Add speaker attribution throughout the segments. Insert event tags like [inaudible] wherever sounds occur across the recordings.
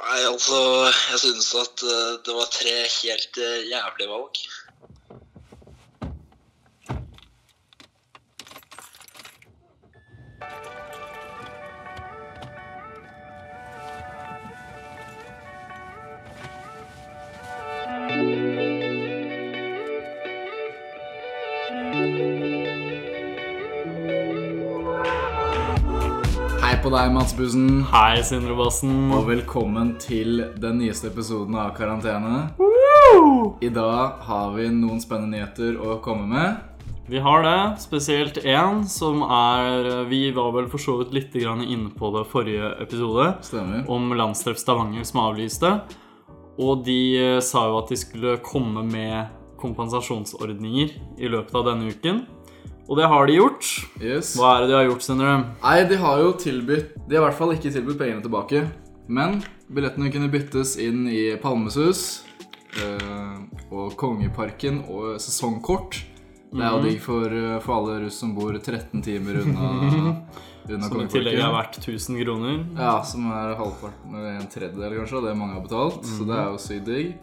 Speaker 1: Nei, altså Jeg synes at eh, det var tre helt eh, jævlige valg.
Speaker 2: Hei på deg, Mats Bussen.
Speaker 3: Hei, Sindre Bassen.
Speaker 2: Og velkommen til den nyeste episoden av Karantene. I dag har vi noen spennende nyheter å komme med.
Speaker 3: Vi har det, spesielt én som er eh, Vi var vel for så vidt litt grann inne på det forrige episode,
Speaker 2: Stemmer.
Speaker 3: om Landstreff Stavanger som avlyste. Og de eh, sa jo at de skulle komme med kompensasjonsordninger i løpet av denne uken. Og det har de gjort.
Speaker 2: Yes.
Speaker 3: Hva er det de har gjort, Sindre?
Speaker 2: Nei, de har jo tilbudt De har i hvert fall ikke tilbudt pengene tilbake. Men billettene kunne byttes inn i Palmesus eh, og Kongeparken og sesongkort. Det er jo
Speaker 3: Mhm.
Speaker 2: digg for, eh, for alle russ som bor 13 timer unna,
Speaker 3: [laughs]
Speaker 2: unna
Speaker 3: Som i
Speaker 2: Kongeparken.
Speaker 3: tillegg er verdt 1000 kroner.
Speaker 2: Ja, som er halvparten eller en tredjedel kanskje av det mange har betalt. Så det er jo sykt digg.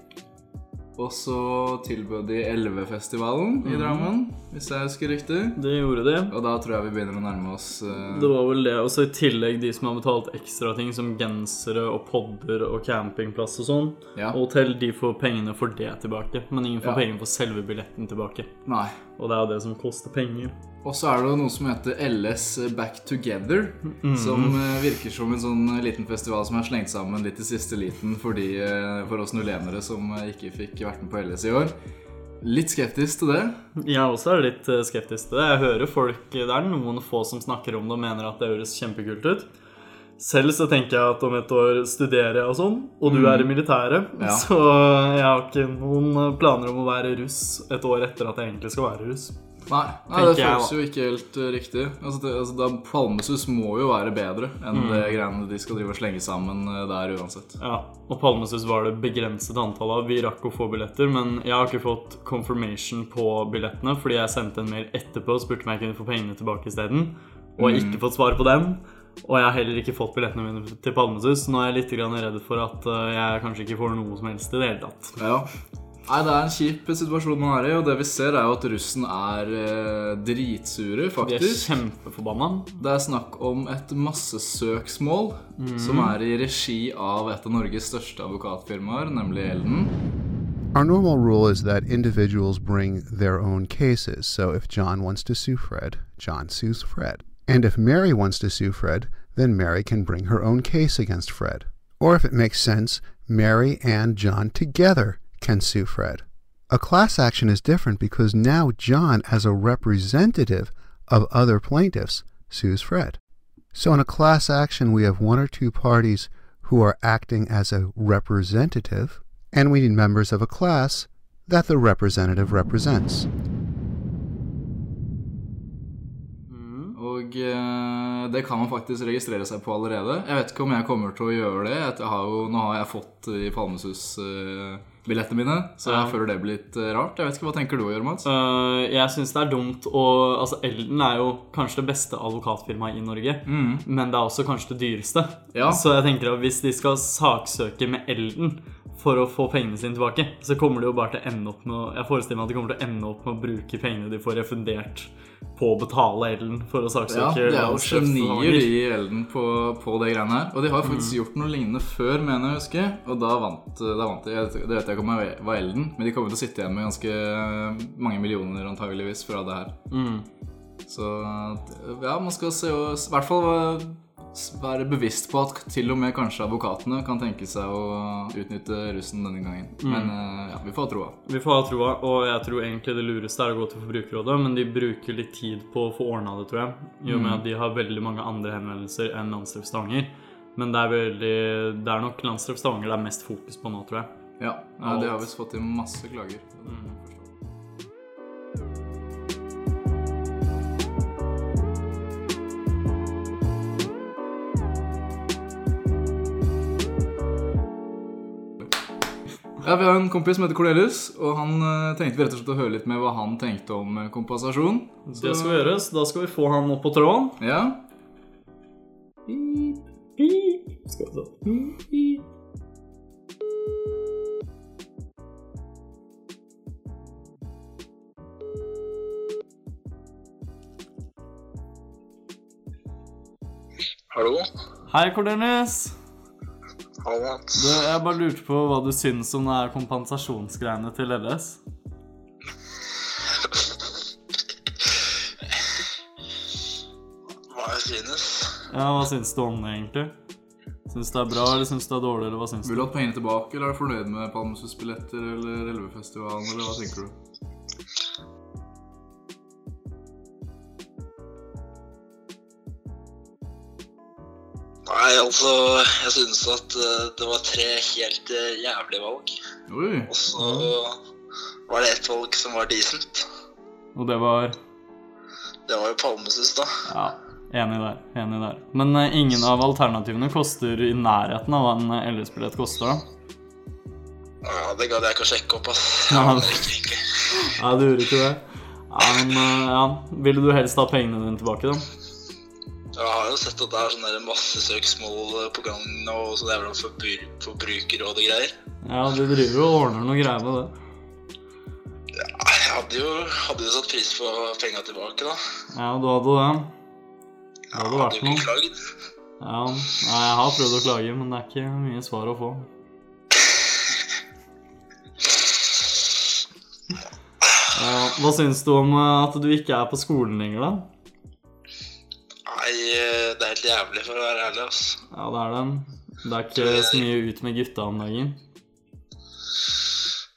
Speaker 2: Og så tilbød de Elvefestivalen i Drammen, hvis jeg husker riktig.
Speaker 3: Det gjorde de.
Speaker 2: Og da tror jeg vi begynner å nærme oss eh,
Speaker 3: Det var vel det. Og så i tillegg de som har betalt ekstra ting, som gensere og podder og campingplass og sånn.
Speaker 2: Ja.
Speaker 3: Og hotell, de får pengene for det tilbake, men ingen får
Speaker 2: Ja.
Speaker 3: penger for selve billetten tilbake.
Speaker 2: Nei.
Speaker 3: Og det er jo det som koster penger.
Speaker 2: Og så er det jo noe som heter LS Back Together, som eh, virker som en sånn eh, liten festival som er slengt sammen litt i siste liten for, de, eh, for oss nulenere som eh, ikke fikk vært med på LS i år. Litt skeptisk til det.
Speaker 3: Jeg også er litt eh, skeptisk til det. Jeg hører folk Det er noen få som snakker om det og mener at det høres kjempekult ut. Selv så tenker jeg at om et år studerer jeg og sånn, og du er i militæret,
Speaker 2: Mm. Ja.
Speaker 3: så jeg har ikke noen planer om å være russ et år etter at jeg egentlig skal være russ.
Speaker 2: Nei, nei
Speaker 3: Tenker
Speaker 2: det
Speaker 3: jeg,
Speaker 2: føles
Speaker 3: da.
Speaker 2: jo ikke helt eh, riktig. Altså, det, altså, da, Palmesus må jo være bedre
Speaker 3: Mm.
Speaker 2: enn det greiene de skal drive og slenge sammen eh, der uansett.
Speaker 3: Ja, og Palmesus var det begrenset antall av. Vi rakk å få billetter, men jeg har ikke fått confirmation på billettene, fordi jeg sendte en mail etterpå og spurte om jeg kunne få pengene tilbake isteden. Og jeg har ikke fått svar på den. Og jeg har heller ikke fått billettene mine til Palmesus. Nå er jeg litt grann redd for at eh, jeg kanskje ikke får noe som helst i det hele tatt.
Speaker 2: Ja. Nei, det er en kjip eh, situasjon man er i, og det vi ser er jo at russen er eh, dritsure,
Speaker 3: De er
Speaker 2: faktisk.
Speaker 3: kjempeforbanna.
Speaker 2: Det er snakk om et massesøksmål
Speaker 3: Mm.
Speaker 2: som er i regi av et av Norges største advokatfirmaer, nemlig Elden.
Speaker 4: Our normal rule is that individuals bring their own cases. So if John wants to sue Fred, John sues Fred. And if Mary wants to sue Fred, then Mary can bring her own case against Fred. Or if it makes sense, Mary and John together can sue Fred. A class action is different because now John, as a representative of other plaintiffs, sues Fred. So in a class action, we have one or two parties who are acting as a representative, and we need members of a class that the representative represents.
Speaker 2: Og eh, det kan man faktisk registrere seg på allerede. Jeg vet ikke om jeg kommer til å gjøre det. At jeg har jo, nå har jeg fått i Palmesus-billettene mine, så jeg
Speaker 3: Ja.
Speaker 2: føler det blir litt eh, rart. Jeg vet ikke, Hva tenker du å gjøre, Mats?
Speaker 3: Øh, jeg syns det er dumt å Altså, Elden er jo kanskje det beste advokatfirmaet i Norge, men det er også kanskje det dyreste.
Speaker 2: Mm. Ja.
Speaker 3: Så jeg tenker at hvis de skal saksøke med Elden for å få pengene sine tilbake, så kommer de jo bare til å ende opp med å- Jeg forestiller meg at de kommer til å ende opp med å bruke pengene de får refundert, på å betale Elden for å
Speaker 2: Ja,
Speaker 3: saksøke.
Speaker 2: Det er jo genier
Speaker 3: landslagstrener.
Speaker 2: i Elden på, på det greiene her. Og de har jo faktisk gjort noe lignende før, mener jeg å huske. Og da vant, eh, da vant de. Jeg vet- Det vet jeg ikke om det var Elden, men de kommer til å sitte igjen med ganske eh, mange millioner antageligvis fra det her.
Speaker 3: Mm.
Speaker 2: Så ja, man skal se og I hvert fall eh, være bevisst på at til og med kanskje advokatene kan tenke seg å utnytte russen denne gangen. Men eh, ja, vi får ha troa.
Speaker 3: Vi får ha troa, og jeg tror egentlig det lureste er å gå til Forbrukerrådet, men de bruker litt tid på å få ordna det, tror jeg. I og med at de har veldig mange andre henvendelser enn Landstreff Stavanger. Men det er, veldig, det er nok Landstreff Stavanger det er mest fokus på nå, tror jeg. Mm.
Speaker 2: Ja, ja, de har visst fått inn masse klager. Ja, Vi har en kompis som heter Cornelius, og han eh, tenkte vi rett og slett å høre litt med hva han tenkte om eh, kompensasjon.
Speaker 3: Det skal gjøres. Da skal vi få han opp på tråden.
Speaker 2: Ja.
Speaker 3: Pip, pip. Skal vi se. Pip, pip.
Speaker 1: Hallo?
Speaker 3: Hei, Cornelius.
Speaker 1: Hallo, Mats.
Speaker 3: Du, jeg bare lurte på hva du syns om det her kompensasjonsgreiene til LS.
Speaker 1: Hva jeg synes?
Speaker 3: Ja, Hva syns du om det, egentlig? Syns du det er bra, eller syns du det er dårlig, eller hva syns du?
Speaker 2: Vil du ha pengene tilbake, eller er du fornøyd med Palmesus-billetter eller Elvefestivalen, eller hva tenker du?
Speaker 1: Nei, altså, jeg synes at eh, det var tre helt eh, jævlige valg.
Speaker 2: Oi,
Speaker 1: Og så var det ett valg som var decent.
Speaker 3: Og det var
Speaker 1: Det var jo Palmesus, da.
Speaker 3: Ja, enig der. Enig der. Men eh, ingen av alternativene koster i nærheten av hva en LS-billett koster, da.
Speaker 1: Ja, det gadd jeg ikke å sjekke opp, ass.
Speaker 3: Ja.
Speaker 1: Jeg aner ikke, egentlig.
Speaker 3: Nei, du gjorde ikke det. Ja, men eh, ja. Ville du helst ha pengene dine tilbake, da?
Speaker 1: Jeg har jo sett at det er sånne der masse søksmål eh, på gang og sånn jævla forbru- forbrukerråd og greier.
Speaker 3: Ja, du driver jo og ordner noe greier med det.
Speaker 1: Nei, Jeg hadde jo, hadde jo satt pris på penga tilbake, da.
Speaker 3: Ja, du hadde det. Det
Speaker 1: Jeg
Speaker 3: hadde
Speaker 1: hadde
Speaker 3: vært
Speaker 1: jo ikke
Speaker 3: noe.
Speaker 1: klagd.
Speaker 3: Ja, nei, jeg har prøvd å klage, men det er ikke mye svar å få. Ja, hva syns du om eh, at du ikke er på skolen lenger, da?
Speaker 1: Nei, eh, det er helt jævlig, for å være ærlig, ass.
Speaker 3: Ja, det er den. Det er ikke så mye ut med gutta om dagen.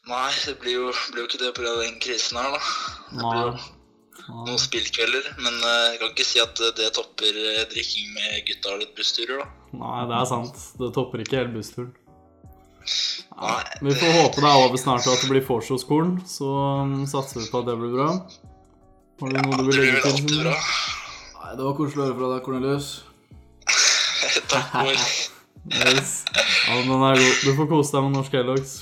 Speaker 1: Nei, det blir jo, blir jo ikke det pga. den krisen her, da. Det blir
Speaker 3: Nei.
Speaker 1: jo
Speaker 3: Nei.
Speaker 1: noen spillkvelder, men eh, jeg kan ikke si at eh, det topper eh, drikking med gutta og litt bussturer, da.
Speaker 3: Nei, det er sant. Det topper ikke hele bussturen. Nei,
Speaker 1: Nei,
Speaker 3: vi får håpe det er over snart og at det blir vors hos skolen. Så um, satser vi på at det blir bra. Har du noe
Speaker 1: Det
Speaker 3: du vil
Speaker 1: blir
Speaker 3: legge
Speaker 1: vel alltid
Speaker 3: til?
Speaker 1: bra. [laughs]
Speaker 2: Nei, det var koselig å høre fra deg, Cornelius.
Speaker 1: Takk for [laughs]
Speaker 3: Yes. Ja, men den er god. Du får kose deg med norsk Kellogg's.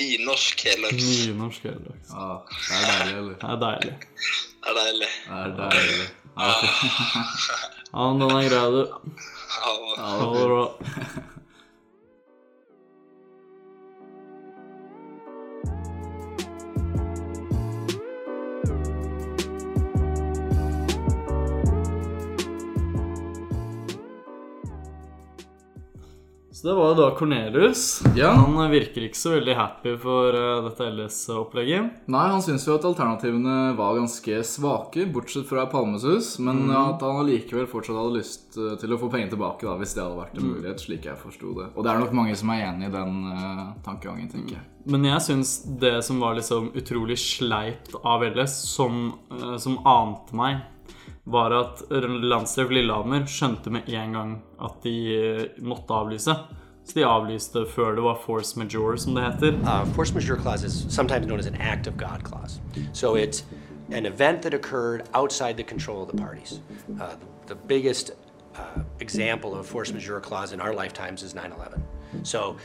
Speaker 1: nynorsk helaks.
Speaker 3: Nye norsk Kellogg's.
Speaker 2: Ja, det er deilig, eller?
Speaker 3: Det er deilig.
Speaker 1: Det er deilig.
Speaker 2: Det er deilig. Ja, fy-
Speaker 3: Ja, men den er grei, du.
Speaker 1: Ha det.
Speaker 2: ja, det
Speaker 3: Ha det
Speaker 2: er fint.
Speaker 3: bra. [laughs] Så det var jo da Cornelius.
Speaker 2: Ja.
Speaker 3: Han eh, virker ikke så veldig happy for eh, dette LS-opplegget.
Speaker 2: Nei, han syns jo at alternativene var ganske svake, bortsett fra Palmesus, men at han allikevel fortsatt hadde lyst eh, til å få penger tilbake, da, hvis det hadde vært en mulighet, slik jeg forsto det. Og det er nok mange som er enig i den eh, tankegangen, tenker jeg.
Speaker 3: Men jeg syns det som var liksom utrolig sleipt av LS, som, eh, som ante meg, var at landstreff Lillehammer skjønte med en gang at de eh, måtte avlyse. Så de avlyste før det var force majeure, som det heter.
Speaker 5: Uh, force majeure clause is sometimes known as an act of God clause. So it's an event that occurred outside the control of the parties. Uh, the biggest uh, example of force majeure clause in our lifetimes is 9 11. So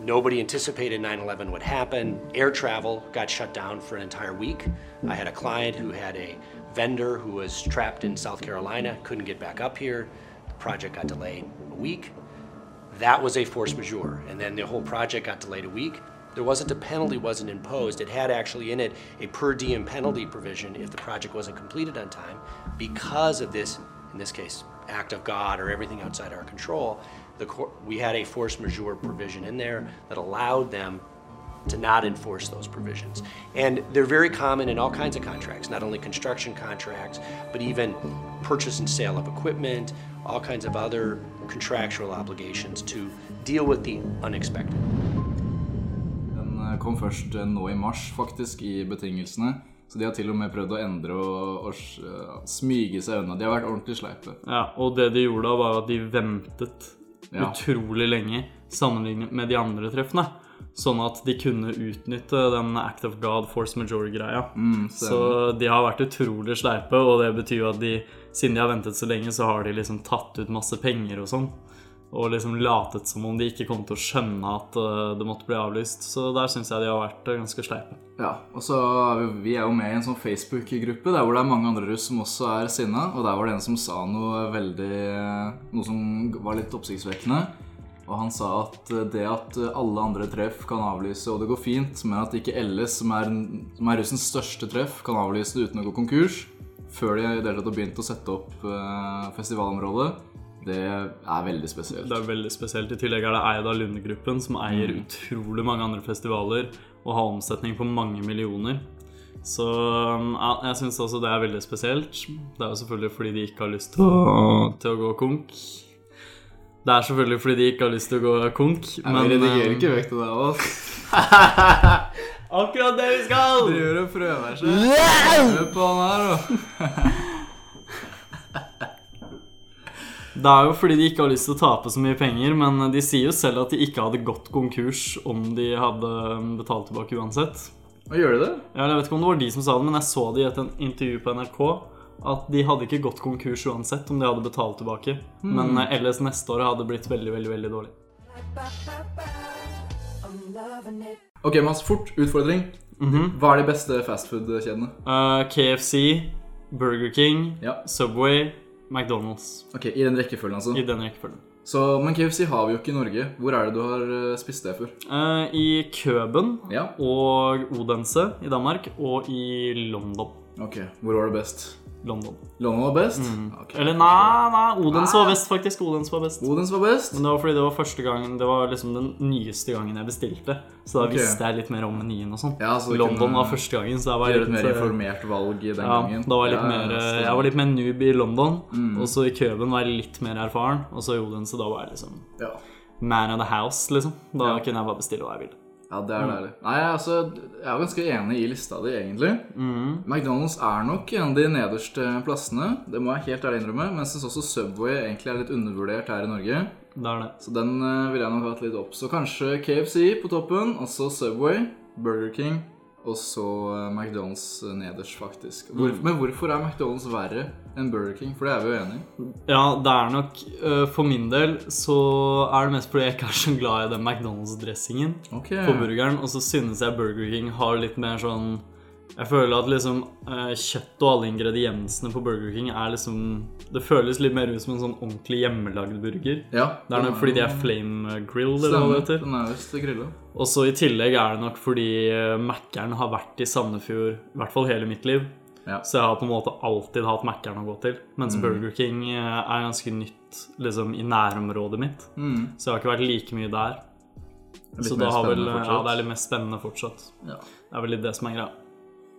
Speaker 5: nobody anticipated 9 11 would happen. Air travel got shut down for an entire week. I had a client who had a vendor who was trapped in South Carolina, couldn't get back up here. The project got delayed a week. That was a force majeure, and then the whole project got delayed a week. There wasn't a penalty wasn't imposed. It had actually in it a per diem penalty provision if the project wasn't completed on time because of this, in this case, act of God or everything outside our control. The cour we had a force majeure provision in there that allowed them to not enforce those provisions. And they're very common in all kinds of contracts, not only construction contracts, but even purchase and sale of equipment, all kinds of other contractual obligations to deal with the unexpected.
Speaker 2: Den eh, kom først eh, nå i mars, faktisk, i betingelsene. Så de har til og med prøvd å endre og, og s- eh, smyge seg unna. De har vært ordentlig sleipe.
Speaker 3: Ja, og det de gjorde da, var jo at de ventet
Speaker 2: Ja.
Speaker 3: utrolig lenge sammenlignet med de andre treffene. Sånn at de kunne utnytte den Act of God force majeure-greia. så de har vært utrolig sleipe, og det betyr jo at de, siden de har ventet så lenge, så har de liksom tatt ut masse penger og sånn. Og liksom latet som om de ikke kom til å skjønne at eh, det måtte bli avlyst. Så der syns jeg de har vært eh, ganske sleipe.
Speaker 2: Ja, og så er vi, vi er jo med i en sånn Facebook-gruppe der hvor det er mange andre russ som også er sinna, og der var det en som sa noe veldig Noe som var litt oppsiktsvekkende. Og han sa at det at alle andre treff kan avlyse, og det går fint, men at ikke LS, som er, som er russens største treff, kan avlyse det uten å gå konkurs, før de i det hele tatt har begynt å sette opp eh, festivalområdet, Det er veldig spesielt. Mm.
Speaker 3: Det er veldig spesielt. I tillegg er det eid av Lundegruppen, som eier utrolig mange andre festivaler og har omsetning på mange millioner. Så um, ja, jeg syns også det er veldig spesielt. Det er jo selvfølgelig fordi de ikke har lyst til å, til å gå konk. Det er selvfølgelig fordi de ikke har lyst til å gå konk,
Speaker 2: Men
Speaker 3: men
Speaker 2: redigerer
Speaker 3: eh,
Speaker 2: ikke vekk det der òg.
Speaker 3: Akkurat det vi skal!
Speaker 2: Driver og prøver seg. Hør på han her, da.
Speaker 3: [laughs] Det er jo fordi de ikke har lyst til å tape så mye penger, men de sier jo selv at de ikke hadde gått konkurs om de hadde um, betalt tilbake uansett.
Speaker 2: Og gjør de det?
Speaker 3: Ja, Jeg vet ikke om det var de som sa det, men jeg så det i et intervju på NRK at de hadde ikke gått konkurs uansett om de hadde betalt tilbake.
Speaker 2: Hmm.
Speaker 3: Men eh, ellers neste år hadde det blitt veldig, veldig veldig dårlig.
Speaker 6: I'm loving it.
Speaker 2: Ok, Mats. Fort. Utfordring.
Speaker 3: Mhm.
Speaker 2: Hva er de beste fastfood-kjedene?
Speaker 3: Eh, KFC, Burger King,
Speaker 2: Ja.
Speaker 3: Subway, McDonald's.
Speaker 2: Ok, I den rekkefølgen, altså.
Speaker 3: I den rekkefølgen.
Speaker 2: Så, men KFC har vi jo ikke i Norge. Hvor er det du har eh, spist det for?
Speaker 3: Eh, I Køben
Speaker 2: Ja.
Speaker 3: og Odense i Danmark og i London.
Speaker 2: Ok, Hvor var det best?
Speaker 3: London.
Speaker 2: London var best? Ok.
Speaker 3: Mhm. Eller nei, nei, Odense var best, faktisk. Odense var best.
Speaker 2: Odens var best?
Speaker 3: Men det var fordi det var første gangen Det var liksom den nyeste gangen jeg bestilte. Så da
Speaker 2: Ok.
Speaker 3: visste jeg litt mer om menyen og sånn.
Speaker 2: Ja, så du
Speaker 3: London
Speaker 2: kunne
Speaker 3: var første gangen, så jeg var
Speaker 2: Gjøre et
Speaker 3: litt,
Speaker 2: mer
Speaker 3: eh,
Speaker 2: informert valg i den
Speaker 3: ja,
Speaker 2: gangen.
Speaker 3: da var jeg litt
Speaker 2: Ja,
Speaker 3: mer eh,
Speaker 2: så- Mm.
Speaker 3: Jeg var litt mer noob i London, og så i Køben var jeg litt mer erfaren, og så i Odense da var jeg liksom
Speaker 2: ja.
Speaker 3: man of the house, liksom. Da
Speaker 2: Ja.
Speaker 3: kunne jeg bare bestille hva jeg ville.
Speaker 2: ja, det
Speaker 3: Mm.
Speaker 2: er deilig. Nei, altså, jeg er ganske enig i lista di, egentlig.
Speaker 3: Mhm.
Speaker 2: McDonald's er nok en av de nederste plassene, det må jeg helt ærlig innrømme. Men jeg syns også Subway egentlig er litt undervurdert her i Norge.
Speaker 3: Det er det.
Speaker 2: Så den eh, ville jeg nok hatt litt opp. Så kanskje KFC på toppen, og så Subway, Burger King og så eh, McDonald's nederst, faktisk. Hvor,
Speaker 3: Mm.
Speaker 2: Men hvorfor er McDonald's verre enn Burger King? For det er vi jo enig i.
Speaker 3: Ja, det er nok eh, For min del så er det mest fordi jeg ikke er så glad i den McDonald's-dressingen.
Speaker 2: Okay.
Speaker 3: på burgeren, og så synes jeg Burger King har litt mer sånn Jeg føler at liksom eh, kjøtt og alle ingrediensene på Burger King er liksom Det føles litt mer ut som en sånn ordentlig hjemmelagd burger.
Speaker 2: Ja,
Speaker 3: Det er nok fordi de er flame grilled, eller hva det heter.
Speaker 2: Den er visst grilla.
Speaker 3: Og så i tillegg er det nok fordi eh, Mækkern har vært i Sandefjord i hvert fall hele mitt liv.
Speaker 2: Ja. Mm.
Speaker 3: Så jeg har på en måte alltid hatt Mækkern å gå til. Mens Burger King eh, er ganske nytt liksom, i nærområdet mitt. Så jeg har ikke vært like mye der.
Speaker 2: Mm. Litt
Speaker 3: så
Speaker 2: mer
Speaker 3: da har vel,
Speaker 2: spennende
Speaker 3: Ja,
Speaker 2: fortsatt.
Speaker 3: det er litt mer spennende fortsatt.
Speaker 2: Ja.
Speaker 3: Det er vel litt det som er greia.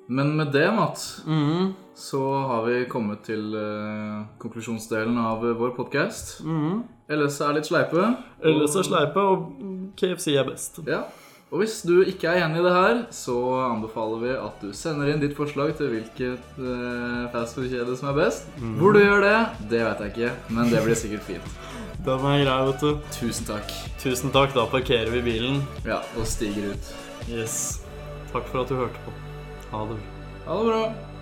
Speaker 2: Men med det, Mats,
Speaker 3: Mm-hmm.
Speaker 2: så har vi kommet til eh, konklusjonsdelen av eh, vår podkast.
Speaker 3: Mm-hmm.
Speaker 2: LS er litt sleipe.
Speaker 3: Eller så sleipe, og KFC er best.
Speaker 2: Ja. Og hvis du ikke er enig i det her, så anbefaler vi at du sender inn ditt forslag til hvilket uh, fastfood-kjede som er best. Hvor du gjør det, det vet jeg ikke, men det blir sikkert fint.
Speaker 3: Den er grei, vet du.
Speaker 2: Tusen takk.
Speaker 3: Tusen takk, da parkerer vi bilen.
Speaker 2: Ja, og stiger ut.
Speaker 3: Yes. Takk for at du hørte på. Ha det bra.
Speaker 2: Ha det bra.